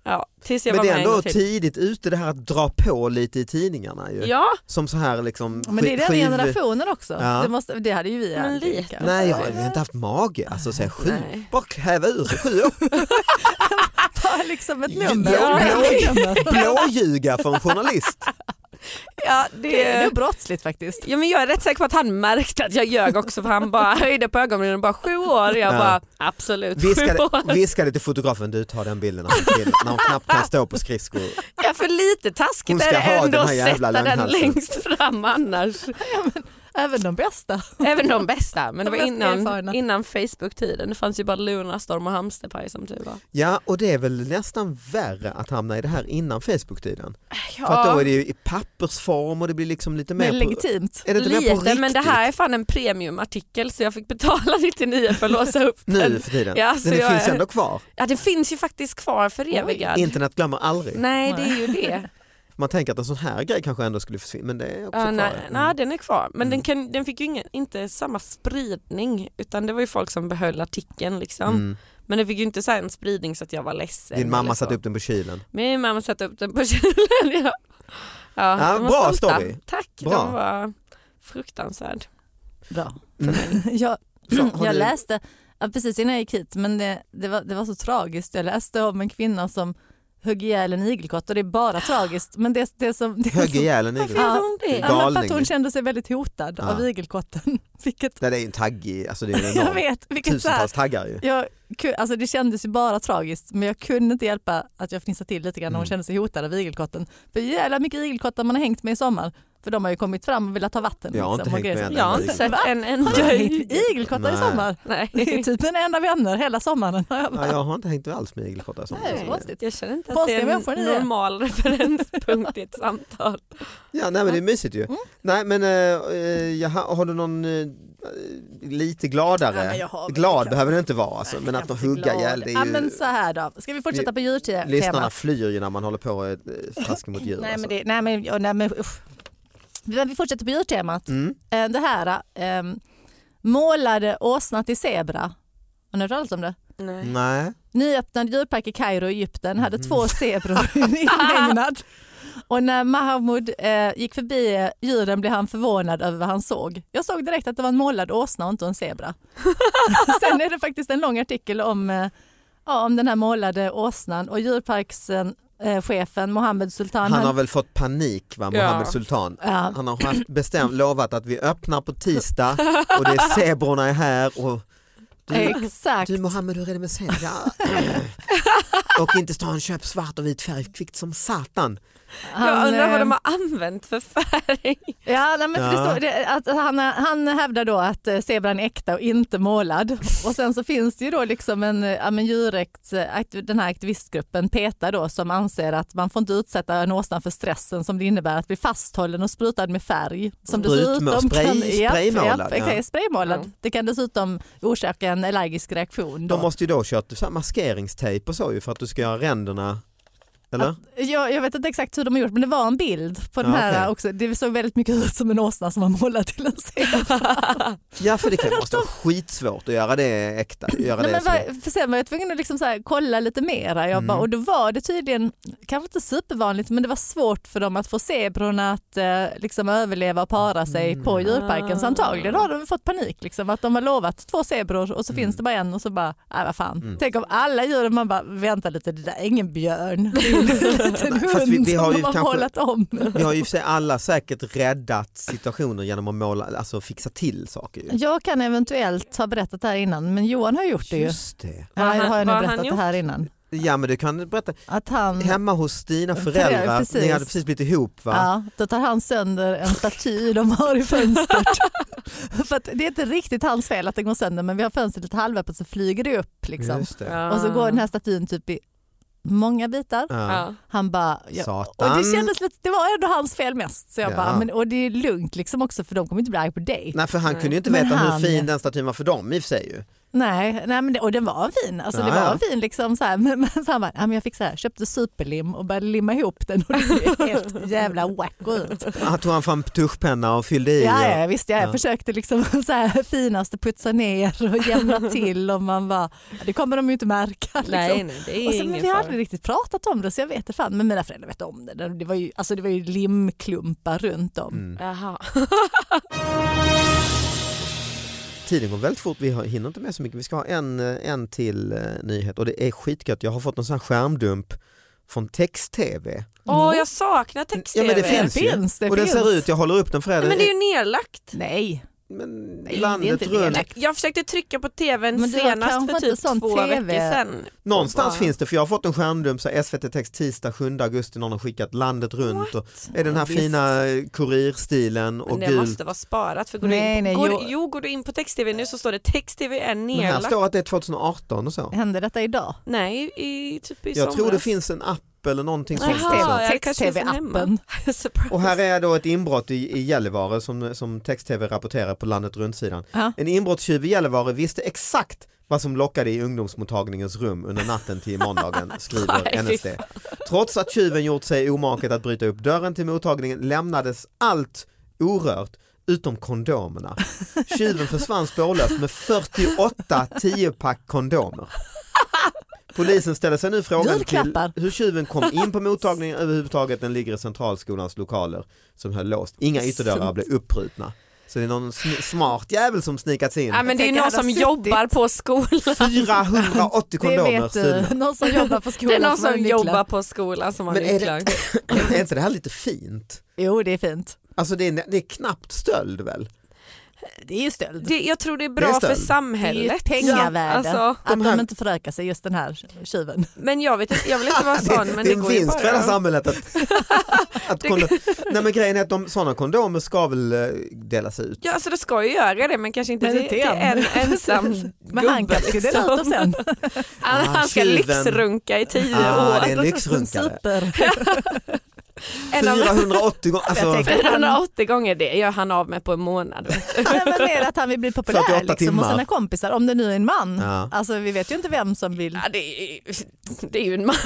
Speaker 4: Ja, tills jag
Speaker 2: Men
Speaker 4: var
Speaker 2: det är
Speaker 4: med en
Speaker 2: ändå
Speaker 4: gång till.
Speaker 2: tidigt ute det här att dra på lite i tidningarna ju.
Speaker 4: Ja,
Speaker 2: Som så här liksom
Speaker 3: Men det är
Speaker 2: sk-
Speaker 3: den
Speaker 2: skiv-
Speaker 3: generationen också.
Speaker 2: Ja.
Speaker 3: Det, måste, det hade ju vi
Speaker 4: Men
Speaker 3: aldrig,
Speaker 4: lite.
Speaker 3: kanske.
Speaker 2: Nej jag har inte haft mage, alltså så här, sju,
Speaker 4: Nej.
Speaker 2: bara häva ur sig sju år.
Speaker 3: Ta liksom ett
Speaker 2: Ja,
Speaker 3: nummer.
Speaker 2: blå-
Speaker 3: Ja.
Speaker 2: Blåljuga för en journalist.
Speaker 4: ja
Speaker 3: Det är
Speaker 4: det...
Speaker 3: nog brottsligt faktiskt.
Speaker 4: Ja, men jag är rätt säker på att han märkte att jag ljög också för han bara höjde på ögonbrynen och bara sju år. Jag
Speaker 2: Ja.
Speaker 4: bara absolut sju
Speaker 2: Viskade,
Speaker 4: år.
Speaker 2: viskade till fotografen, du tar den bilden av en kille när hon knappt kan stå på skridskor.
Speaker 4: Ja, för lite
Speaker 2: Hon
Speaker 4: taskigt
Speaker 2: ska
Speaker 4: är det
Speaker 2: ha
Speaker 4: ändå
Speaker 2: den
Speaker 4: att
Speaker 2: här jävla
Speaker 4: sätta den
Speaker 2: lönnhalsen.
Speaker 4: längst fram annars.
Speaker 3: Även de bästa.
Speaker 4: Även de bästa, men det
Speaker 3: De
Speaker 4: var
Speaker 3: mest erfarna.
Speaker 4: innan, innan Facebook-tiden. Det fanns ju bara Lunarstorm och Hamsterpaj som tur var.
Speaker 2: Ja och det är väl nästan värre att hamna i det här innan Facebook-tiden. För att då är det ju i pappersform och det blir liksom lite mer
Speaker 3: Men
Speaker 2: på,
Speaker 3: legitimt.
Speaker 2: är det inte mer på
Speaker 4: Lite,
Speaker 2: riktigt
Speaker 4: men det här är fan en premiumartikel så jag fick betala 99 för att låsa upp
Speaker 2: nu
Speaker 4: den.
Speaker 2: för tiden.
Speaker 4: Ja,
Speaker 2: Men
Speaker 4: så
Speaker 2: det
Speaker 4: jag
Speaker 2: finns
Speaker 4: är-
Speaker 2: ändå kvar.
Speaker 4: Ja, den finns ju faktiskt kvar för evigad.
Speaker 2: Internet glömmer aldrig.
Speaker 4: Nej, det är ju det.
Speaker 2: Man tänker att en sån här grej kanske ändå skulle försvinna men det är också
Speaker 4: Ja,
Speaker 2: kvar.
Speaker 4: nej,
Speaker 2: Mm.
Speaker 4: nej, den är kvar. Men
Speaker 2: Mm.
Speaker 4: den, kan, den fick ju ingen, inte samma spridning utan det var ju folk som behöll artikeln liksom.
Speaker 2: Mm.
Speaker 4: Men det fick ju inte så här en spridning så att jag var ledsen.
Speaker 2: Din
Speaker 4: eller
Speaker 2: mamma
Speaker 4: så.
Speaker 2: satte upp den på kylen.
Speaker 4: Min mamma satte upp den på kylen. Ja. Ja,
Speaker 2: Ja,
Speaker 4: de var
Speaker 2: bra
Speaker 4: stolta.
Speaker 2: story.
Speaker 4: Tack,
Speaker 2: Bra.
Speaker 4: de var fruktansvärd.
Speaker 3: Bra.
Speaker 2: Mm.
Speaker 3: Jag,
Speaker 2: Så, har
Speaker 3: jag
Speaker 2: du-
Speaker 3: läste, ja, precis innan jag gick hit, men det, det, var, det var så tragiskt. Jag läste om en kvinna som högg ihjäl en igelkott och det är bara tragiskt. Men det, det som, det
Speaker 2: Högg
Speaker 3: som,
Speaker 2: ihjäl en igel.
Speaker 4: Varför
Speaker 2: Ja.
Speaker 4: gjorde hon det?
Speaker 2: Ja.
Speaker 3: ja, men för att
Speaker 2: Galning.
Speaker 3: hon kände sig väldigt hotad
Speaker 2: Ja.
Speaker 3: av igelkotten. Vilket,
Speaker 2: Det är ju en tagg i, alltså det är ju
Speaker 3: jag
Speaker 2: enormt.
Speaker 3: vet, vilket så här,
Speaker 2: Tusentals taggar ju.
Speaker 3: jag, ku- alltså det kändes ju bara tragiskt men jag kunde inte hjälpa att jag fnissade till lite grann när hon
Speaker 2: Mm.
Speaker 3: kände sig hotad av igelkotten. För jävla mycket igelkottar man har hängt med i sommar. För de har ju kommit fram och velat ta vatten.
Speaker 2: Jag har inte
Speaker 3: liksom, och
Speaker 2: hängt med
Speaker 3: grejer så.
Speaker 2: än.
Speaker 4: Jag har inte
Speaker 2: Nej.
Speaker 4: sett
Speaker 3: Va?
Speaker 4: en
Speaker 3: Har du
Speaker 4: enda.
Speaker 3: hängt med igelkottar i
Speaker 2: Nej.
Speaker 3: sommar? Det är
Speaker 4: Nej.
Speaker 3: typ mina enda vänner hela sommaren. har jag
Speaker 2: Ja,
Speaker 3: bara-
Speaker 2: jag har inte hängt alls med igelkottar. som-
Speaker 3: Nej, det är konstigt.
Speaker 4: Jag känner inte att det
Speaker 3: Konstiga
Speaker 4: är
Speaker 3: människor
Speaker 4: en
Speaker 3: ni är.
Speaker 4: normal referenspunkt i ett samtal.
Speaker 2: Ja, nej men det är mysigt ju.
Speaker 3: Mm.
Speaker 2: Nej men eh, eh, jaha, har du någon eh, lite
Speaker 3: Ja, men
Speaker 2: gladare?
Speaker 3: jag har väl-
Speaker 2: Glad behöver du inte vara alltså, men att
Speaker 3: Jag är
Speaker 2: hugga
Speaker 3: glad.
Speaker 2: ihjäl det
Speaker 3: Ja,
Speaker 2: är ju...
Speaker 3: men så här då. Ska vi fortsätta på
Speaker 2: Lyssnarna
Speaker 3: djurtemat?
Speaker 2: flyr ju när man håller på och eh, taskar mot djur.
Speaker 3: Nej
Speaker 2: alltså.
Speaker 3: men, det, nej, men, ja, nej, men, usch. men vi fortsätter på djurtemat.
Speaker 2: Mm.
Speaker 3: Eh, Det här, eh, Målade åsna till zebra. Har ni hört talas om det?
Speaker 4: Nej.
Speaker 2: Nej.
Speaker 3: Nyöppnad djurpark i Kairo, Egypten, hade
Speaker 4: Mhm.
Speaker 3: två zebror inhägnad. Och när Mahmoud eh, gick förbi eh, djuren blev han förvånad över vad han såg. Jag såg direkt att det var en målad åsna och inte en zebra. Sen är det faktiskt en lång artikel om, eh, ja, om den här målade åsnan och djurparkschefen eh, chefen Mohammed Sultan.
Speaker 2: Han
Speaker 3: han-
Speaker 2: har väl fått panik va, Mohammed
Speaker 4: Ja.
Speaker 2: Sultan.
Speaker 3: ja,
Speaker 2: Han har haft bestämt lovat att vi öppnar på tisdag och det är zebrorna är här och du,
Speaker 3: exakt.
Speaker 2: du Mohammed hur är det med zebra? och inte stan köp svart och vit färg kvickt som satan.
Speaker 4: Jag undrar vad
Speaker 3: eh,
Speaker 4: de har använt för färg.
Speaker 3: Ja, nej, men för
Speaker 2: Ja.
Speaker 3: Det står, det, att han, han hävdar då att eh, zebran är äkta och inte målad. Och sen så finns det ju då liksom en, eh, ja, men djurrätts, eh, akt- den här aktivistgruppen PETA då som anser att man får inte utsätta en åsna för stressen som det innebär att bli fasthållen och sprutad med färg. Som
Speaker 2: Sprut- spray-
Speaker 3: japp,
Speaker 2: spraymålad,
Speaker 3: japp, exakt,
Speaker 2: ja.
Speaker 3: spraymålad.
Speaker 4: Ja.
Speaker 3: Det kan dessutom orsaka en allergisk reaktion. Då.
Speaker 2: De måste ju då ha kört så här maskeringstejp och så ju för att du ska göra ränderna. Eller?
Speaker 3: jag, jag vet inte exakt hur de har gjort men det var en bild på den
Speaker 2: Ja,
Speaker 3: här
Speaker 2: okej.
Speaker 3: också. Det såg väldigt mycket ut som en åsna som var målad till en zebra.
Speaker 2: Ja för det kan måste vara skitsvårt att göra det äkta. Göra
Speaker 3: Nej,
Speaker 2: det
Speaker 3: men
Speaker 2: så.
Speaker 3: vad, för sen var jag tvungen att liksom så här, kolla lite mera jag
Speaker 2: Mm.
Speaker 3: bara, och då var det tydligen, kanske inte supervanligt, men det var svårt för dem att få zebrorna att eh, liksom överleva och para sig
Speaker 2: Mm.
Speaker 3: på djurparken. Så
Speaker 4: Ah.
Speaker 3: antagligen har de fått panik, liksom, att de har lovat två zebror och så
Speaker 2: Mm.
Speaker 3: finns det bara en och så bara, nej vad fan.
Speaker 2: Mm.
Speaker 3: Tänk om alla djuren, man bara, vänta lite, det där är ingen björn, det är en liten
Speaker 2: Nej, fast vi-
Speaker 3: hund
Speaker 2: vi har
Speaker 3: som
Speaker 2: ju
Speaker 3: de har
Speaker 2: kanske-
Speaker 3: målat om.
Speaker 2: Vi har ju i och för sig alla säkert räddat situationer genom att måla, alltså fixa till saker. Ju.
Speaker 3: Jag kan eventuellt ha berättat det här innan, men Johan har gjort det ju.
Speaker 2: Just det.
Speaker 3: Ja, jag har ju
Speaker 4: Vad
Speaker 3: nog
Speaker 4: har han
Speaker 3: berättat det
Speaker 4: gjort?
Speaker 3: här innan.
Speaker 2: Ja men du kan berätta,
Speaker 3: Att han...
Speaker 2: hemma hos dina
Speaker 3: Föräldrar,
Speaker 2: föräldrar, ni
Speaker 3: Mm. precis.
Speaker 2: hade precis blivit ihop va?
Speaker 3: Ja, då tar han sönder en staty de har i fönstret. För att det är inte riktigt hans fel att den går sönder men vi har fönstret lite halvöppet så flyger det upp. Liksom.
Speaker 2: Just det.
Speaker 3: Och så går den här statyn typ i många bitar.
Speaker 2: Ja.
Speaker 4: Ja.
Speaker 3: Han bara, ja. och
Speaker 2: Satan.
Speaker 3: det kändes lite, det var ändå hans fel mest. Så jag
Speaker 2: Ja.
Speaker 3: bara, men, och det är lugnt liksom också för de kommer inte bli arga på dig.
Speaker 2: Nej för han
Speaker 4: Nej.
Speaker 2: kunde ju inte
Speaker 3: Men
Speaker 2: veta
Speaker 3: han-
Speaker 2: hur fin den statyn var för dem i och för sig ju.
Speaker 3: Nej, nej men det, och den var fin. Alltså, det
Speaker 2: Ja, ja.
Speaker 3: var fin liksom så här. Men, men så han bara, ja, men jag fick så här, köpte superlim och började limma ihop den och det ser helt jävla wacko ut.
Speaker 2: Han tog han fram tuschpenna och fyllde i.
Speaker 3: Ja,
Speaker 2: och-
Speaker 3: ja visst, ja, jag
Speaker 2: Ja.
Speaker 3: försökte liksom så här finaste putsa ner och jämna till och man bara, ja, det kommer de ju inte märka. Liksom.
Speaker 4: Nej, nej, det
Speaker 3: och
Speaker 4: är
Speaker 3: sen, men vi
Speaker 4: ingen
Speaker 3: har
Speaker 4: fara.
Speaker 3: aldrig riktigt pratat om det så jag vet det fan, men mina föräldrar vet om det. Det var ju, alltså, det var ju limklumpar runt om.
Speaker 2: Mm.
Speaker 4: Jaha.
Speaker 2: Tiden går väldigt fort, vi har- hinner inte med så mycket. Vi ska ha en, eh, en till eh, nyhet och det är skitgött. Jag har fått en sån här skärmdump från text-tv.
Speaker 4: Åh, jag saknar
Speaker 2: Ja
Speaker 4: text-tv.
Speaker 2: men det finns
Speaker 3: Det
Speaker 2: ju.
Speaker 3: finns, det
Speaker 2: och den
Speaker 3: finns.
Speaker 2: ser ut, jag håller upp den för er.
Speaker 4: Nej, men det är ju nedlagt.
Speaker 3: Nej,
Speaker 2: men
Speaker 3: Nej, det är
Speaker 2: landet
Speaker 3: inte
Speaker 2: runt.
Speaker 3: nedlagt.
Speaker 4: Jag försökte trycka på tvn
Speaker 3: Men du har
Speaker 4: senast
Speaker 3: kanske
Speaker 4: för typ
Speaker 3: inte sån
Speaker 4: två
Speaker 3: TV.
Speaker 4: veckor sedan.
Speaker 2: Någonstans
Speaker 4: Ja.
Speaker 2: finns det, för jag har fått en skärmdump, så här, SVT Text tisdag 7 augusti, någon har skickat landet runt. Och är den här
Speaker 4: Ja, visst.
Speaker 2: fina eh, kurirstilen och
Speaker 4: Men det
Speaker 2: gul.
Speaker 4: måste vara sparat för går
Speaker 3: Nej,
Speaker 4: du in,
Speaker 3: nej,
Speaker 4: går,
Speaker 3: jo.
Speaker 4: jo. går du in på text-tv nu så står det text-tv är
Speaker 2: Men här
Speaker 4: nedlagt.
Speaker 2: står att det är 2018 och så.
Speaker 3: hände detta idag?
Speaker 4: Nej, i, typ i
Speaker 2: Jag
Speaker 4: somras.
Speaker 2: tror det finns en app eller någonting sånt.
Speaker 4: Jaha,
Speaker 2: också.
Speaker 4: ja, det kanske finns en
Speaker 3: Text-tv-appen.
Speaker 4: hemma. Surprise.
Speaker 2: Och här är då ett inbrott i, i Gällivare som, som text-tv rapporterar på landet runt-sidan.
Speaker 3: Ja.
Speaker 2: En inbrottstjuv i Gällivare visste exakt vad som lockade i ungdomsmottagningens rum under natten till måndagen, skriver
Speaker 4: Nej, fy
Speaker 2: NSD. Trots att tjuven gjort sig omaket att bryta upp dörren till mottagningen lämnades allt orört utom kondomerna. Tjuven försvann spårlöst med 48 10-pack kondomer. Polisen ställer sig nu frågan till
Speaker 3: Julklappar.
Speaker 2: hur tjuven kom in på mottagningen överhuvudtaget. Den ligger i Centralskolans lokaler som höll låst. Inga ytterdörrar blev upprutna. Så det är någon sn- smart jävel som snikat sig in.
Speaker 4: Ja, men det är ju
Speaker 3: Tänk, jag
Speaker 4: någon
Speaker 3: hade
Speaker 4: som
Speaker 3: suttit-
Speaker 4: jobbar på skolan.
Speaker 2: 480
Speaker 3: Det
Speaker 2: kondomer
Speaker 3: vet
Speaker 2: stulna.
Speaker 3: du, någon som jobbar på
Speaker 4: Det
Speaker 3: skolan
Speaker 4: är någon
Speaker 3: har
Speaker 4: som
Speaker 3: nycklar.
Speaker 4: jobbar på skolan som har
Speaker 2: Men är det-
Speaker 4: nycklar.
Speaker 2: Är inte det här lite fint?
Speaker 3: Jo det är fint.
Speaker 2: Alltså det är, det är knappt stöld väl?
Speaker 3: Det är ju stöld.
Speaker 4: Det, jag tror det är
Speaker 2: Det är
Speaker 4: bra för
Speaker 2: stöld.
Speaker 3: Det är ju
Speaker 4: samhället.
Speaker 3: ett pengavärde
Speaker 4: Alltså,
Speaker 3: att
Speaker 2: de här-
Speaker 3: de inte förökar sig just den här tjuven.
Speaker 4: men jag, vet, inte- jag vill inte vara sån men
Speaker 2: det
Speaker 4: det
Speaker 2: är en
Speaker 4: går ju
Speaker 2: vinst för hela
Speaker 4: bara.
Speaker 2: samhället. Att, att kondom... Nej men grejen är att de, sådana kondomer ska väl eh, delas ut.
Speaker 4: Ja, alltså det ska ju göra det men kanske inte
Speaker 3: Men
Speaker 4: till,
Speaker 3: inte
Speaker 4: till
Speaker 3: en.
Speaker 4: en
Speaker 2: Liksom,
Speaker 4: ensam
Speaker 3: Men han
Speaker 4: gubbe. liksom.
Speaker 3: kanske ska dela ut dem sen.
Speaker 4: Han,
Speaker 2: Ah,
Speaker 4: han ska
Speaker 2: tjuven.
Speaker 4: lyxrunka i tio
Speaker 2: Ah,
Speaker 4: år.
Speaker 2: det är en lyxrunkare.
Speaker 3: Super.
Speaker 4: En av-
Speaker 2: 480 gånger,
Speaker 3: Jag
Speaker 2: alltså
Speaker 3: tänker-
Speaker 4: 480 gånger det gör han av med på en månad. vet du.
Speaker 3: Nej, men mer att han vill bli populär
Speaker 2: 48
Speaker 3: liksom, hos
Speaker 2: timmar.
Speaker 3: sina kompisar, om det nu är en man.
Speaker 2: Ja.
Speaker 3: Alltså, vi vet ju inte vem som vill.
Speaker 4: Ja, det, är, det är ju en man.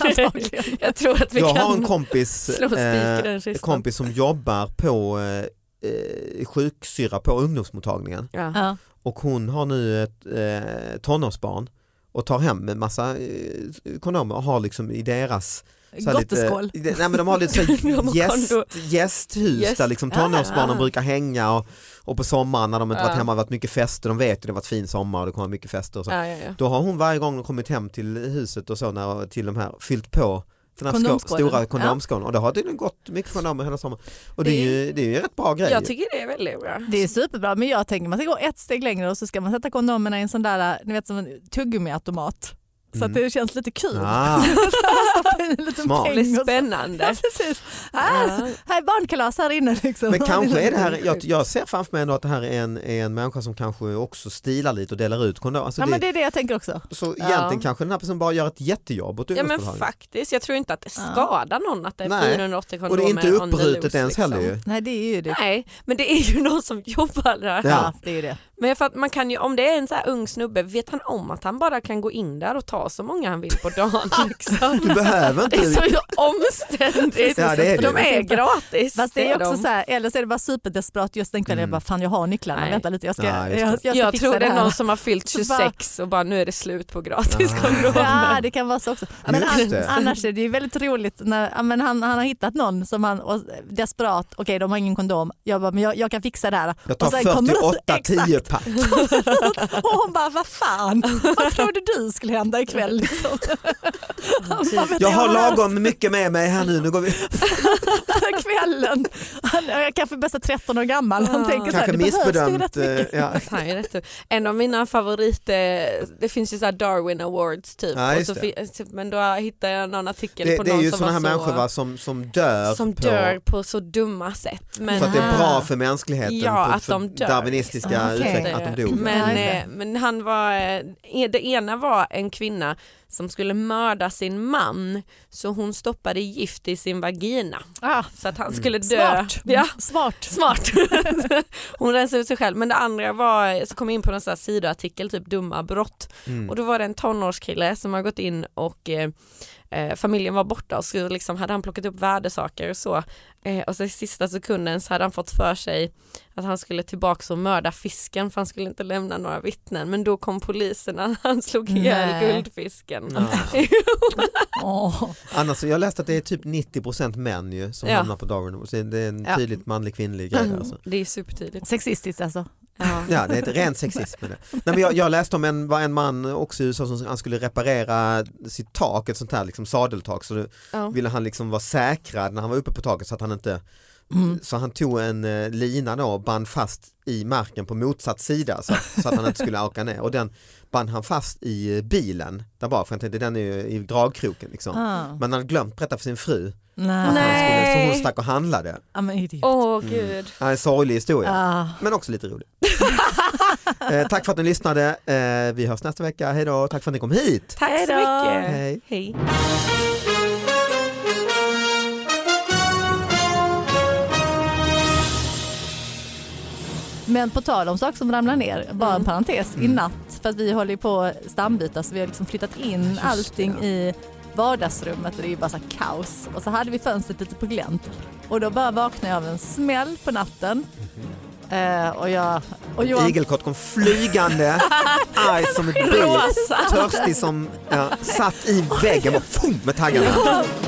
Speaker 3: Antagligen.
Speaker 4: jag tror att vi
Speaker 2: jag har
Speaker 4: kan
Speaker 2: en kompis,
Speaker 4: slå spik i den kistan.
Speaker 2: kompis som jobbar på eh, eh, sjuksyrra på ungdomsmottagningen
Speaker 4: Ja.
Speaker 3: Ja.
Speaker 2: och hon har nu ett eh, tonårsbarn och tar hem en massa eh, kondomer och har liksom i deras så här
Speaker 3: Gotteskål.
Speaker 2: Lite, i de- nej men de har lite så
Speaker 4: De
Speaker 2: här
Speaker 4: har
Speaker 2: gäst,
Speaker 4: kondo.
Speaker 2: gästhus
Speaker 4: Gäst-
Speaker 2: där liksom tonårsbarnen
Speaker 4: Ah.
Speaker 2: brukar hänga och, och på sommaren när de inte varit
Speaker 4: Ah.
Speaker 2: hemma, det har varit mycket fester, de vet ju det har varit fin sommar och det kommer mycket fester och så.
Speaker 4: Ja, ja, ja.
Speaker 2: Då har hon varje gång hon kommit hem till huset och så när, till de här fyllt på den här skå-
Speaker 3: Kondomskålen.
Speaker 2: stora
Speaker 4: Ah.
Speaker 2: kondomskålen och det har tydligen gått mycket kondomer hela sommaren. Och det är ju, det är ju en rätt bra grej.
Speaker 4: Jag tycker det är väldigt bra.
Speaker 3: Det är superbra men jag tänker man ska gå ett steg längre och så ska man sätta kondomerna i en sån där, ni vet som en tuggummiautomat. Så att det känns lite kul.
Speaker 2: ah,
Speaker 3: Stoppa i en
Speaker 2: Mm.
Speaker 3: liten
Speaker 2: Smart.
Speaker 3: peng
Speaker 4: Det
Speaker 3: och
Speaker 4: är
Speaker 3: så. Ja,
Speaker 4: spännande.
Speaker 3: precis. Här,
Speaker 4: Ja.
Speaker 3: här är barnkalas här inne. Liksom.
Speaker 2: men kanske är det här,
Speaker 4: sjukt.
Speaker 2: jag, jag ser framför mig ändå att det här är en, är en människa som kanske också stilar lite och delar ut kondomer. Alltså
Speaker 3: Ja,
Speaker 2: det,
Speaker 3: men det är det jag tänker också.
Speaker 2: Så
Speaker 4: Ja.
Speaker 2: egentligen kanske den här personen bara gör ett jättejobb åt
Speaker 4: Ja men
Speaker 2: ungdomsmottagningen.
Speaker 4: faktiskt, jag tror inte att det skadar någon att det är
Speaker 2: Nej.
Speaker 4: 480 kondomer
Speaker 2: och det är inte
Speaker 4: on the
Speaker 2: uppbrutet
Speaker 4: loose,
Speaker 2: ens
Speaker 4: liksom.
Speaker 2: heller ju.
Speaker 3: Nej det är ju det.
Speaker 4: Nej, men det är ju någon som jobbar där.
Speaker 2: Ja.
Speaker 3: det är ju det.
Speaker 4: Men för att man kan ju, om det är en så här ung snubbe, vet han om att han bara kan gå in där och ta så många han vill på dagen? Liksom?
Speaker 2: Du behöver
Speaker 4: Det är
Speaker 2: inte,
Speaker 4: så omständigt.
Speaker 2: Ja, det är det.
Speaker 4: De är gratis.
Speaker 3: Fast det
Speaker 4: är
Speaker 3: är också
Speaker 4: de.
Speaker 3: så här, eller så är det bara superdesperat just den kvällen.
Speaker 2: Mm.
Speaker 3: Jag bara fan jag har nycklarna,
Speaker 4: Nej.
Speaker 3: vänta lite jag ska,
Speaker 2: Ja, just det.
Speaker 3: jag, jag ska
Speaker 4: jag
Speaker 3: fixa
Speaker 4: tror det
Speaker 3: det
Speaker 4: är
Speaker 3: här.
Speaker 4: någon som har fyllt
Speaker 3: Så bara-
Speaker 4: 26 och bara nu är det slut på gratis
Speaker 2: Ah.
Speaker 4: kondomer.
Speaker 3: Ja det kan vara så också.
Speaker 2: Ja,
Speaker 3: Men
Speaker 2: just
Speaker 3: an,
Speaker 2: det.
Speaker 3: annars är det ju väldigt roligt när ja, men han, han har hittat någon som han och, desperat, okej de har ingen kondom, jag bara men jag, jag kan fixa det här.
Speaker 2: jag
Speaker 3: Och
Speaker 2: tar
Speaker 3: sen kommer de-
Speaker 2: 48
Speaker 3: exakt.
Speaker 2: 10 pack.
Speaker 3: Och hon bara vad fan, vad trodde du skulle hända ikväll? Liksom. Han bara, "Men
Speaker 2: Jag har
Speaker 3: hört
Speaker 2: lagom mycket med mig här nu, nu går vi.
Speaker 3: för kvällen. Han är kanske bästa 13 år gammal. Han
Speaker 4: Ja.
Speaker 3: tänker så här,
Speaker 2: Kanske
Speaker 3: det behövs ju rätt
Speaker 2: missbedömt. eh,
Speaker 3: mycket.
Speaker 2: Ja.
Speaker 4: Han är rätt upp. En av mina favoriter, det finns ju så här Darwin awards typ,
Speaker 2: Ja,
Speaker 4: och
Speaker 2: just
Speaker 4: så
Speaker 2: det.
Speaker 4: fin- typ, men då hittade jag någon artikel
Speaker 2: Det,
Speaker 4: på
Speaker 2: det är
Speaker 4: någon
Speaker 2: ju
Speaker 4: som
Speaker 2: sådana här
Speaker 4: var så,
Speaker 2: människor va, som, som dör.
Speaker 4: som
Speaker 2: på,
Speaker 4: dör på så dumma sätt. Men,
Speaker 2: För att det är bra
Speaker 3: Ah.
Speaker 2: för mänskligheten,
Speaker 4: Ja,
Speaker 2: på,
Speaker 4: att
Speaker 2: för
Speaker 4: de dör. Ah,
Speaker 2: darwinistiska
Speaker 3: Okej.
Speaker 2: utvecklingen, att de dog.
Speaker 3: Ja,
Speaker 4: Men,
Speaker 3: just det.
Speaker 4: eh, men han var, eh, det ena var en kvinna som skulle mörda sin man så hon stoppade gift i sin vagina
Speaker 3: Ah,
Speaker 4: så att
Speaker 2: Mm.
Speaker 4: han skulle dö.
Speaker 3: smart.
Speaker 4: Ja,
Speaker 3: smart.
Speaker 4: smart. hon rensade ut sig själv. Men det andra var, eh, så kom jag in på någon sån här sidoartikel, typ dumma brott.
Speaker 2: Mm.
Speaker 4: Och då var det en tonårskille som har gått in och eh, eh, familjen var borta och så liksom hade han plockat upp värdesaker och så. Eh, och så i sista sekunden så hade han fått för sig att han skulle tillbaka och mörda fisken för han skulle inte lämna några vittnen. Men då kom poliserna, han slog ihjäl
Speaker 3: Nej.
Speaker 4: guldfisken.
Speaker 2: Ja.
Speaker 3: Åh.
Speaker 2: Annars, så jag läste att det är typ 90% män ju som
Speaker 4: Ja.
Speaker 2: hamnar på Darwin. Så det är en
Speaker 4: Ja.
Speaker 2: tydligt manlig kvinnlig grej där, alltså.
Speaker 4: Mm. Det är supertydligt.
Speaker 3: Sexistiskt alltså.
Speaker 4: Ja.
Speaker 2: Ja, det är ett rent sexism. med Det. Nej, men jag, jag läste om en, var en man också i USA som han skulle reparera sitt tak, ett sånt här liksom sadeltak, så då
Speaker 4: Ja.
Speaker 2: ville han liksom vara säkrad när han var uppe på taket så att han inte
Speaker 3: Mm.
Speaker 2: så han tog en eh, lina då och band fast i marken på motsatt sida så, att- så att han inte skulle åka ner och den band han fast i eh, bilen där bak för jag tänkte den är ju i dragkroken liksom.
Speaker 3: Ah.
Speaker 2: Men han hade glömt berätta för sin fru att han
Speaker 3: Nej.
Speaker 2: skulle, så
Speaker 4: Nej.
Speaker 2: hon stack och handlade.
Speaker 3: Ja, men idiot.
Speaker 4: Åh gud.
Speaker 2: Ja, en sorglig historia.
Speaker 3: Ah.
Speaker 2: Men också lite rolig. eh, tack för att ni lyssnade. Eh, vi hörs nästa vecka. Hej då. Tack för att ni kom hit.
Speaker 4: Tack
Speaker 3: Hej
Speaker 4: så
Speaker 3: då.
Speaker 4: mycket.
Speaker 2: Hej.
Speaker 4: Hej.
Speaker 3: Men på tal om saker som ramlar ner, bara en parentes, i natt, för att vi håller ju på stambyta så vi har liksom flyttat in allting i vardagsrummet och det är ju bara så här kaos. Och så hade vi fönstret lite på glänt och då bara vaknade jag av en smäll på natten. Eh, och jag... Och Johan,
Speaker 2: Igelkott kom flygande, arg som ett bi, törstig som ja, satt i väggen bara, fum, med taggarna.
Speaker 3: Johan